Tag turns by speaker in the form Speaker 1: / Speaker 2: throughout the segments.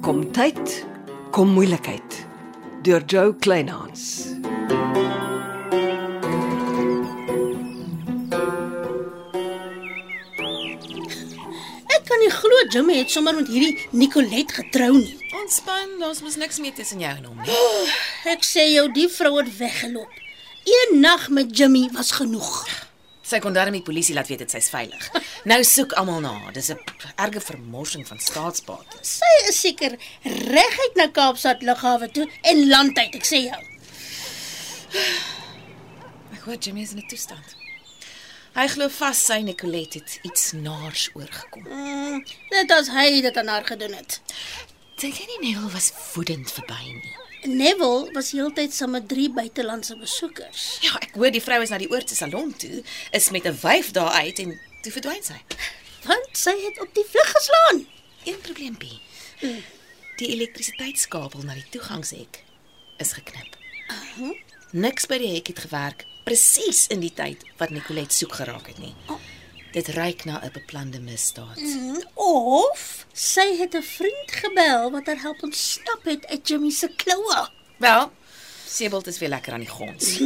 Speaker 1: Gesondheid kom moeilikheid deur Joe Kleinhans.
Speaker 2: Ek kan nie glo Jimmy het sommer met hierdie Nicolet getrou nie.
Speaker 3: Ontspan, daar's mos niks meer tussen jou en hom nie.
Speaker 2: Ek sê jou, die vrou het weggeloop. Een nag met Jimmy was genoeg.
Speaker 3: Sy kon darm die polisie laat weet dit sy's veilig. Nou soek almal na haar. Dis 'n erge vermorsing van staatsbates.
Speaker 2: Sy is seker reguit na Kaapstad lughawe toe en land uit, ek sê jou.
Speaker 3: Ek hoor Jimmy is in 'n toestand. Hy glo vas sy Nicolette het iets naars oorgekom.
Speaker 2: Mm, net as hy dit aan haar gedoen het.
Speaker 3: Dink jy nie Neil was woedend verby nie?
Speaker 2: Neville was heeltyd saam met drie buitelandse besoekers.
Speaker 3: Ja, ek hoor die vrou is na die oorte salon toe, is met 'n wyf daar uit en toe verdwyn sy.
Speaker 2: Want sy het op die vlug geslaan.
Speaker 3: Een probleempie. Die elektrisiteitskabel na die toegangshek is geknip. Niks by die hek het gewerk presies in die tyd wat Nicolet soek geraak het nie. Dit ruik na 'n beplande misdaad.
Speaker 2: Mm, Of sy het 'n vriend gebel wat haar help ontsnap het uit Jimmy se kloue.
Speaker 3: Wel, Sebelt is weer lekker aan die gons.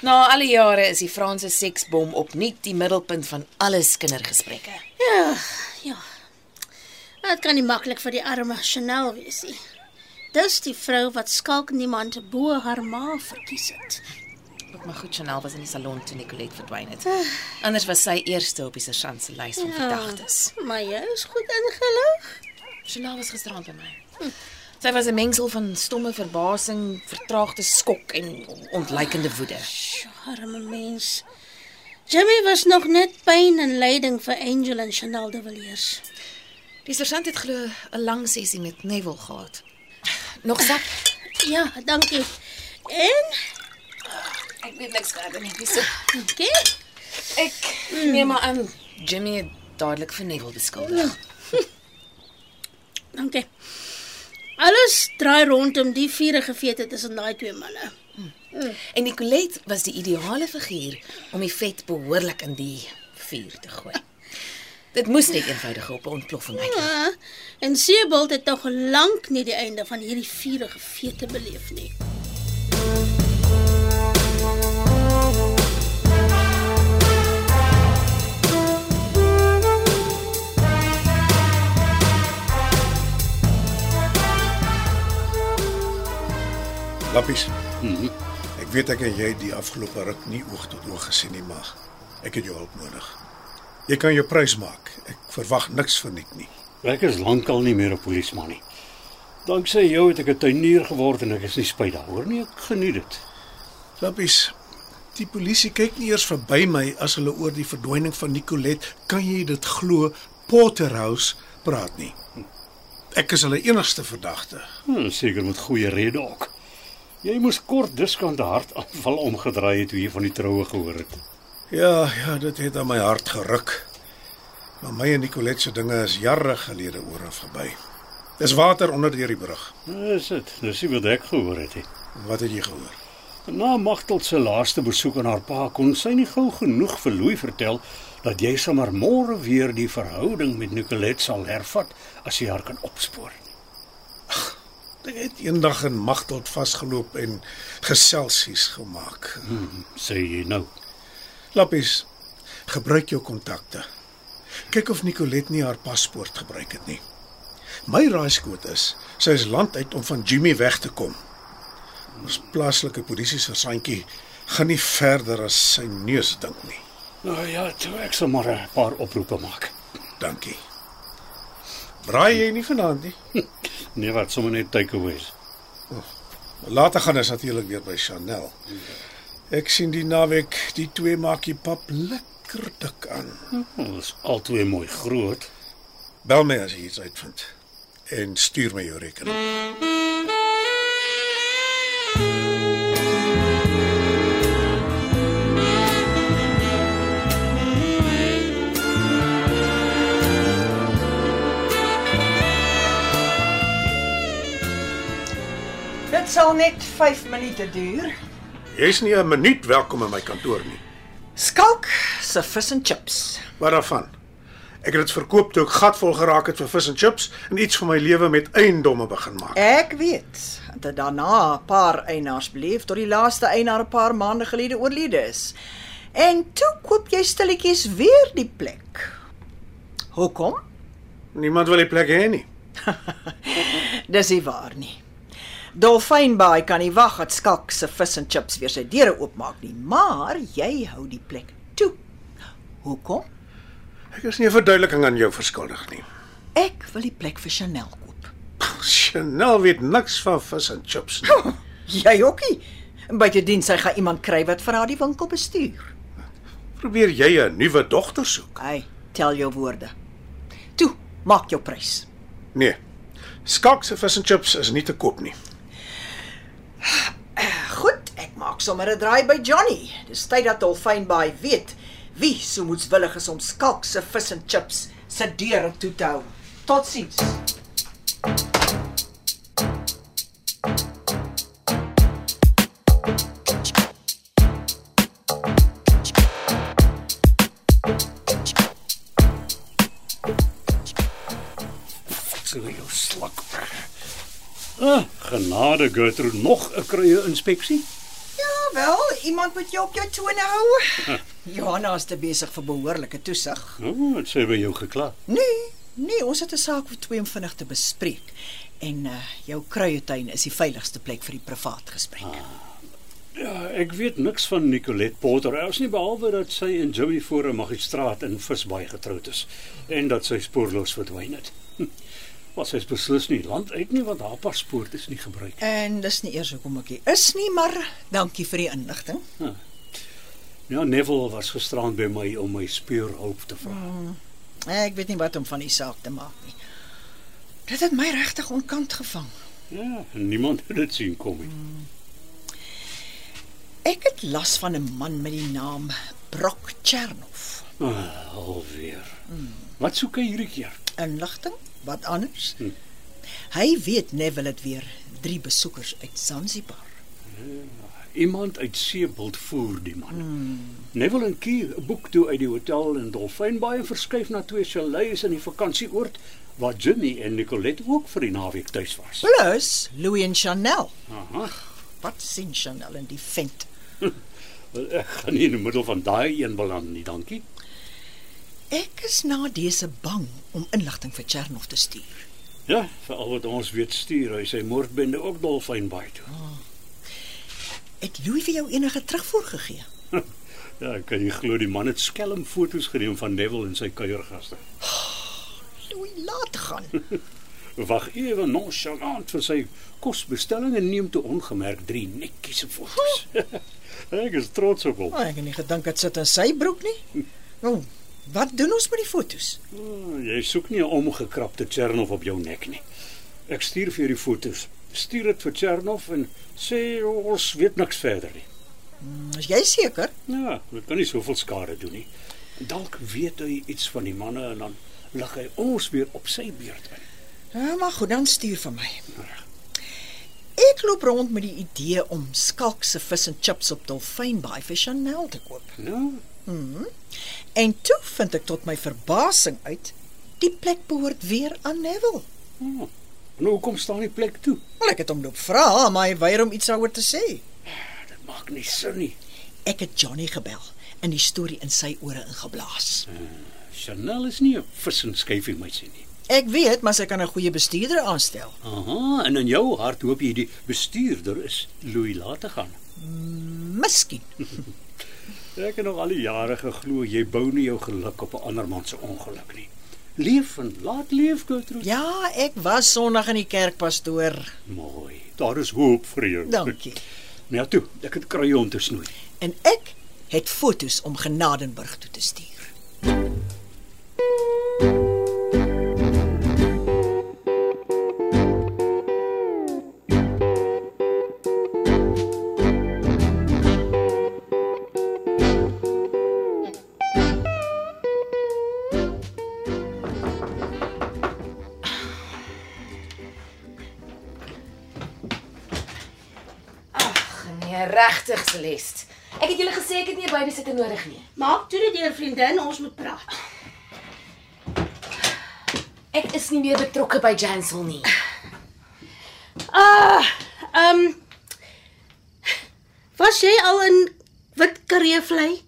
Speaker 3: Na al die jare is die Franse seksbom opnuut die middelpunt van alle kindergesprekke.
Speaker 2: Ja, ja. Dit kan nie maklik vir die arme Chanel wees nie. Dis die vrou wat skalk niemand bo haar ma verkies het.
Speaker 3: Ook maar goed Chanel was in die salon toe Nicolette verdwyn het. Anders was sy eerste op die sergeant se lys
Speaker 2: Ja.
Speaker 3: van verdagtes.
Speaker 2: Maar jy is goed ingelig.
Speaker 3: Chanel was gisterand by my. Sy was 'n mengsel van stomme verbasing, vertraagde skok en ontluikende woede.
Speaker 2: Sjoe, Arme mens. Jimmy was nog net pyn en lyding vir Angel en Chanel de Villiers.
Speaker 3: Die sergeant het glo 'n lang sessie met Neville gehad. Nog sak.
Speaker 2: Ja, dankie. En,
Speaker 3: Ek weet niks verder nie. Dis so
Speaker 2: okay.
Speaker 3: Ek neem maar aan Jimmy het dadelik vir Neville beskuldig.
Speaker 2: Dankie. Alles draai rondom die vierige feete tussen daai twee manne.
Speaker 3: En Nicolette was die ideale figuur om die vet behoorlik in die vuur te gooi. Dit moes net eenvoudig op 'n ontploffing uitkom.
Speaker 2: Ah, en Sebald het tog lank nie die einde van hierdie vierige feete beleef nie.
Speaker 4: Lappies. Mhm. Ek weet ek en jy het die afgelope ruk nie oog tot oog gesien nie, maar ek het jou hulp nodig. Jy kan jou prys maak. Ek verwag niks verniet nie.
Speaker 5: Ek is lankal nie meer 'n polisieman nie. Danksy jou het ek 'n tuinier geword en ek is nie spyt daaroor nie. Ek geniet dit.
Speaker 4: Lappies. Die polisie kyk nie eers verby my as hulle oor die verdwyning van Nicolet, kan jy dit glo, Potterhouse praat nie. Ek is hulle enigste verdagte.
Speaker 5: Hm, seker met goeie rede ook. Jy moes kort diskant 'n hartaanval omgedraai het toe jy van die troue gehoor het.
Speaker 4: Ja, ja, dit het aan my hart geruk. Maar my en Nicolet se dinge is jare gelede oor en verby. Dis water onder deur die brug.
Speaker 5: Dis Nou dit. Dis nie wat ek gehoor het nie.
Speaker 4: Wat het jy gehoor?
Speaker 5: Na Magtel se laaste besoek aan haar pa kon sy nie gou genoeg vir Louw vertel dat jy sommer môre weer die verhouding met Nicolet sal hervat as jy haar kan opspoor.
Speaker 4: Ek het eendag in Magdalt vasgeloop en geselsies gemaak.
Speaker 5: Sê jy nou?
Speaker 4: Lappies, gebruik jou kontakte. Kyk of Nicolet nie haar paspoort gebruik het nie. My raaiskoot is, sy is land uit om van Jimmy weg te kom. Ons plaaslike polisie sergeantjie gaan nie verder as sy neus dink nie.
Speaker 5: Nou ja, toe ek sal maar 'n paar oproepe maak.
Speaker 4: Dankie. Braai jy nie vanaand nie?
Speaker 5: Nee, wat sommer net takeaways.
Speaker 4: Later gaan ons natuurlik weer by Chanel. Ek sien die naweek die twee maak die pap lekker dik aan.
Speaker 5: Ons altyd mooi groot.
Speaker 4: Bel my as jy iets uitvind en stuur my jou rekening.
Speaker 6: Dit sal net 5 minute duur.
Speaker 4: Jy's nie 'n minuut welkom in my kantoor nie.
Speaker 6: Skalk se vis en chips.
Speaker 4: Wat daarvan? Ek het dit verkoop toe ek gatvol geraak het vir vis en chips en iets van my lewe met eiendomme begin maak.
Speaker 6: Ek weet dat er daarna 'n paar eienaars bleef tot die laaste eienaar 'n paar maande gelede oorlede is. En toe koop jy stilletjies weer die plek. Hoekom?
Speaker 4: Niemand wil die plek hê nie.
Speaker 6: Dis nie waar nie. Dolfynbaai kan nie wag dat Skalk se vis en chips weer sy deure oopmaak nie, maar jy hou die plek toe. Hoekom?
Speaker 4: Ek is nie 'n verduideliking aan jou verskuldig nie.
Speaker 6: Ek wil die plek vir Chanel koop.
Speaker 4: Chanel weet niks van vis en chips nie.
Speaker 6: Jy ook nie. Bytedien sy gaan iemand kry wat vir haar die winkel bestuur.
Speaker 4: Probeer jy 'n nuwe dogter soek?
Speaker 6: Hey, tel jou woorde. Toe, maak jou prys.
Speaker 4: Nee. Skak se vis en chips is nie te koop nie.
Speaker 6: Goed, ek maak sommer 'n draai by Johnny. Dis tyd dat Dolfynbaai weet wie so moetswillig is om skalk se vis en chips se deure toe te hou. Totsiens.
Speaker 5: So jou slak. Ah, genade Gertrude, nog 'n kruie inspeksie?
Speaker 6: Ja, wel, iemand moet jou op jou tone hou. Johanna is te besig vir behoorlike toesig.
Speaker 5: O, oh, dit sê by jou gekla.
Speaker 6: Nee, nee, ons het 'n saak vir 22 te bespreek. En uh jou kruietuin is die veiligigste plek vir die privaat gesprek.
Speaker 5: Ja, ek weet niks van Nicolette Potter, ons nie behalwe dat sy en Jimmy voor 'n magistraat in Visbaai getroud is en dat sy spoorloos verdwyn het. Hm, Maar sy is beslis nie land uit nie want haar paspoort is nie gebruik.
Speaker 6: En dis nie eers hoekom ek hier is nie, maar dankie vir die inligting.
Speaker 5: Ja, Neville was gisteraan by my om my speurhulp te vra.
Speaker 6: Nee, Ek weet nie wat om van die saak te maak nie. Dit het my regtig onkant gevang.
Speaker 5: Ja, en niemand het dit sien kom nie.
Speaker 6: Ek het las van 'n man met die naam Brock Chernoff.
Speaker 5: Ah, alweer. Wat soek hy hierdie keer?
Speaker 6: Inligting? Wat anders? Hy weet Neville het weer drie besoekers uit Zanzibar.
Speaker 5: Iemand uit Seebult voer die man. Neville en Key boek toe uit die hotel in Dolfynbaai en verskuif na twee chalets in die vakansieoord waar Jimmy en Nicolette ook vir die naweek tuis was.
Speaker 6: Plus Louis en Chanel.
Speaker 5: Aha.
Speaker 6: Wat sien Chanel in die vent?
Speaker 5: Wel, Ek gaan nie in die middel van daai een beland nie, dankie.
Speaker 6: Ek is na dese bang om inligting vir Chernoff te stuur.
Speaker 5: Ja, vir al wat ons weet stuur hy sy moordbende ook Dolfynbaai toe.
Speaker 6: Het Louis vir jou enige terugvoer gegee?
Speaker 5: Ja, ek kan jy glo die man het skelm foto's geneem van Neville en sy kuiergaste.
Speaker 6: Louis laat gaan.
Speaker 5: Wag ewe nonchalant vir sy kosbestelling en neem toe ongemerk drie netjiese foto's. ek is trots op hom.
Speaker 6: Maar ek het nie gedink dit sit in sy broek nie. Nou, wat doen ons met die fotos?
Speaker 5: Oh, jy soek nie 'n omgekrapte Chernoff op jou nek nie. Ek stuur vir jou die foto's. Stuur dit vir Chernoff en sê ons weet niks verder nie.
Speaker 6: Is jy seker?
Speaker 5: Ja, dit kan nie soveel skade doen nie. Dalk weet hy iets van die manne en dan lig hy ons weer op sy beurt in.
Speaker 6: Ja, maar goed, dan stuur vir my. Ek loop rond met die idee om skalk se vis en chips op Dolfynbaai vir Chanel te koop.
Speaker 5: Nou,
Speaker 6: En toe vind ek tot my verbasing uit, die plek behoort weer aan Neville.
Speaker 5: oh, nou hoekom staan die plek toe?
Speaker 6: Wel ek het hom loop vra, maar hy weier om iets daaroor te sê.
Speaker 5: Dit maak nie sin nie.
Speaker 6: Ek het Johnny gebel en die storie in sy ore ingeblaas.
Speaker 5: Chanel is nie 'n vis en skyfie meisie nie.
Speaker 6: Ek weet, maar sy kan 'n goeie bestuurder aanstel.
Speaker 5: Aha, en in jou hart hoop jy die bestuurder is Louis laat te gaan.
Speaker 6: Miskien.
Speaker 5: Ek het nog al die jare geglo jy bou nie jou geluk op 'n ander man se ongeluk nie. Leef en laat leef, Gertrude.
Speaker 6: Ja, ek was Sondag in die kerk pastoor.
Speaker 5: Mooi. Daar is hoop vir jou.
Speaker 6: Dankie.
Speaker 5: Nou toe, ek het kruie om te snoei.
Speaker 6: En ek het fotos om Genadenburg toe te stuur.
Speaker 3: Nee, regtig Celeste. Ek het julle gesê ek het nie 'n babysitter nodig nie.
Speaker 2: Maak toe die deur vriendin, ons moet praat.
Speaker 3: Ek is nie meer betrokke by Jansel nie.
Speaker 2: Ah, ehm um, Was jy al in wit kareevlei?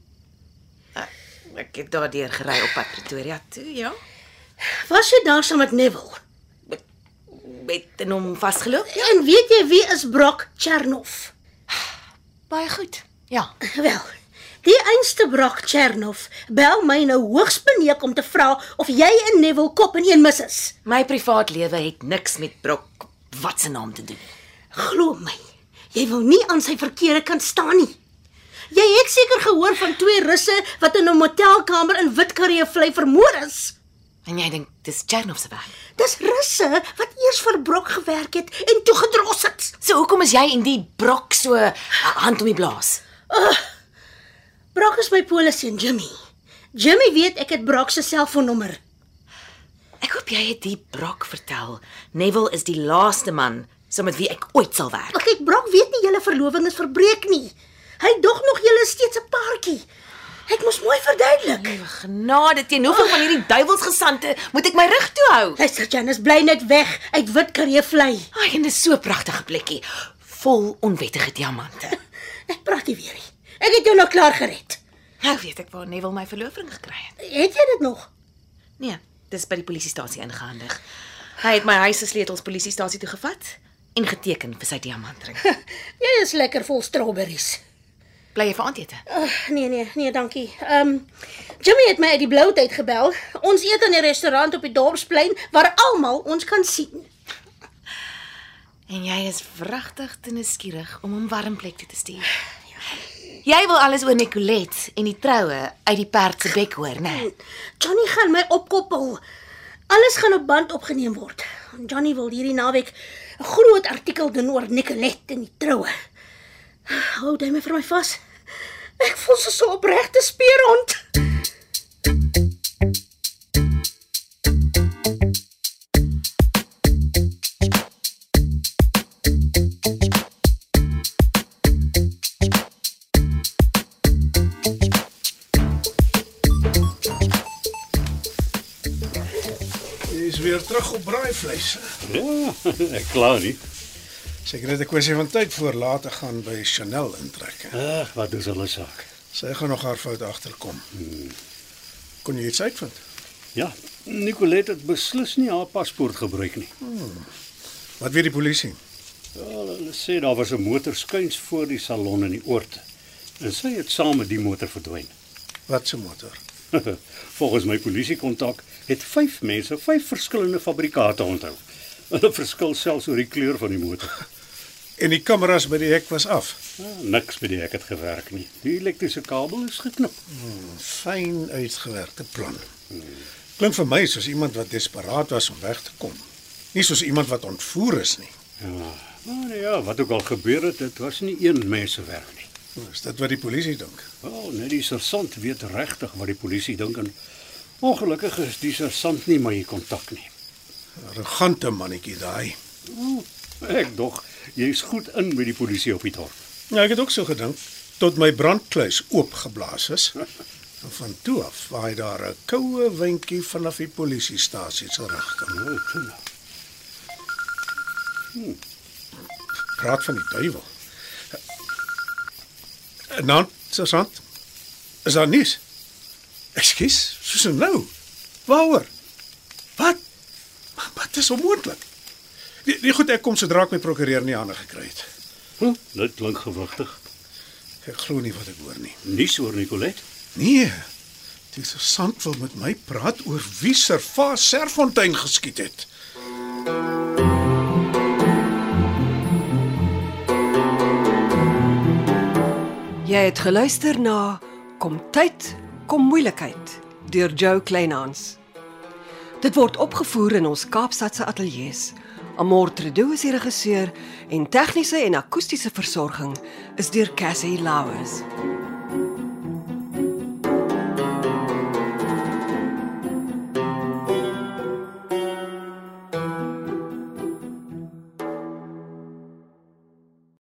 Speaker 3: Ek het daardeur gery op pad Pretoria toe, ja.
Speaker 2: Was jy daar saam met Neville?
Speaker 3: Met en hom vasgeloop.
Speaker 2: En weet jy wie is Brock Chernoff?
Speaker 3: Baie goed. Ja.
Speaker 2: Wel, die einste Brock Chernoff bel my nou hoogs beneek om te vra of jy en Neville kop in een mis is.
Speaker 3: My privaat lewe het niks met Brok wat se naam te doen.
Speaker 2: Glo my, jy wil nie aan sy verkeerde kant staan nie. Jy het seker gehoor van twee russe wat in 'n motelkamer in Witkarreevlei vermoor is.
Speaker 3: En jy dink dis Chernov se werk.
Speaker 2: Dis russe wat eers vir Brok gewerk het en toe gedros het.
Speaker 3: So hoekom is jy en die Brok so uh, hand om die blaas?
Speaker 2: Brok is my polisie en Jimmy. Jimmy weet ek het Brok se selfoonnommer.
Speaker 3: Ek hoop jy het die Brok vertel. Neville is die laaste man so met wie ek ooit sal werk.
Speaker 2: Ag, kyk, Brok weet nie julle verloving is verbreek nie. Hy dog nog julle is steeds 'n paartjie. Ek moes mooi verduidelik.
Speaker 3: Genade teen hoeveel van hierdie duiwelsgesande moet ek my rug toe hou?
Speaker 2: Luister, Janice, bly net weg uit Witkaree vlei.
Speaker 3: Ai, en dis so 'n pragtige plekkie, vol onwettige diamante.
Speaker 2: Ek praat nie weer nie. Ek het jou nou klaar gered.
Speaker 3: Nou weet ek waar Neville my verloofring gekry het.
Speaker 2: Het jy dit nog?
Speaker 3: Nee, dis by die polisiestasie ingehandig. Hy het my huis se sleutels polisiestasie toe gevat en geteken vir sy diamantring.
Speaker 2: Jy is lekker vol strawberries.
Speaker 3: Bly jy vir aandete?
Speaker 2: Ag, nee nee, nee, dankie. Ehm um, Jimmy het my uit die blou tyd gebel. Ons eet in 'n restaurant op die dorpsplein waar almal ons kan sien.
Speaker 3: En jy is wragtig te nuuskierig om hom warm plek toe te stuur. Jy wil alles oor Nicolet en die troue uit die perd se bek hoor, né? Nee?
Speaker 2: Johnny gaan my opkoppel. Alles gaan op band opgeneem word. Johnny wil hierdie naweek 'n groot artikel doen oor Nicolet en die troue. Hou dit my vir my vas. Ek voel so so opregte speerhond.
Speaker 4: Dis weer terug op braaivleis.
Speaker 5: Ja, ek kla nie.
Speaker 4: Seker net 'n kwessie van tyd voor later gaan by Chanel intrek.
Speaker 5: Ag, wat is hulle saak?
Speaker 4: Sy gaan nog haar fout agterkom. Kon jy iets uitvind?
Speaker 5: Ja, Nicolet het beslis nie haar paspoort gebruik nie.
Speaker 4: Wat weet die polisie?
Speaker 5: Wel, hulle sê daar was 'n motor skuins voor die salon in die oord. En sy het saam met die motor verdwyn.
Speaker 4: Wat se motor?
Speaker 5: Volgens my polisiekontak het vyf mense vyf verskillende fabrikate onthou. Hulle verskil selfs oor die kleur van die motor.
Speaker 4: En die kameras by die hek was af.
Speaker 5: Ja, niks by die hek het gewerk nie. Die elektriese kabel is geknip.
Speaker 4: Fyn uitgewerkte plan. Klink vir my soos iemand wat desperaat was om weg te kom. Nie soos iemand wat ontvoer is nie.
Speaker 5: Ja, maar ja, wat ook al gebeur het, dit was nie een mens se werk nie.
Speaker 4: Is dit wat die polisie dink?
Speaker 5: Wel, net die sergeant weet regtig wat die polisie dink en ongelukkig is die sergeant nie my kontak nie.
Speaker 4: Arrogante mannetjie daai.
Speaker 5: Ek dog jy's goed in by die polisie op die dorp.
Speaker 4: Ja, ek het ook so gedink tot my brandkluis oopgeblaas is. En van toe af waai daar 'n koue windjie vanaf die polisiestasie se rigting.
Speaker 5: Nou, toe nou.
Speaker 4: Praat van die duiwel. Nou, sergeant. Is daar nuus? Ekskuus, soos nou. Waaroor? Wat? Maar wat is onmoontlik? Nee, nee, goed, ek kom sodra ek my prokureur in die hande gekry het.
Speaker 5: Hm, dit klink gewigtig.
Speaker 4: Ek glo nie wat ek hoor nie.
Speaker 5: Nuus oor Nicolet?
Speaker 4: Nee. Die sergeant wil met my praat oor wie Servaas Serfontein geskiet het.
Speaker 1: Jy het geluister na Kom tyd, kom moeilikheid deur Jo Kleinhans. Dit word opgevoer in ons Kaapstadse ateljee se. Amortredo is die regisseur en tegniese en akoestiese versorging is deur Cassie Lauers.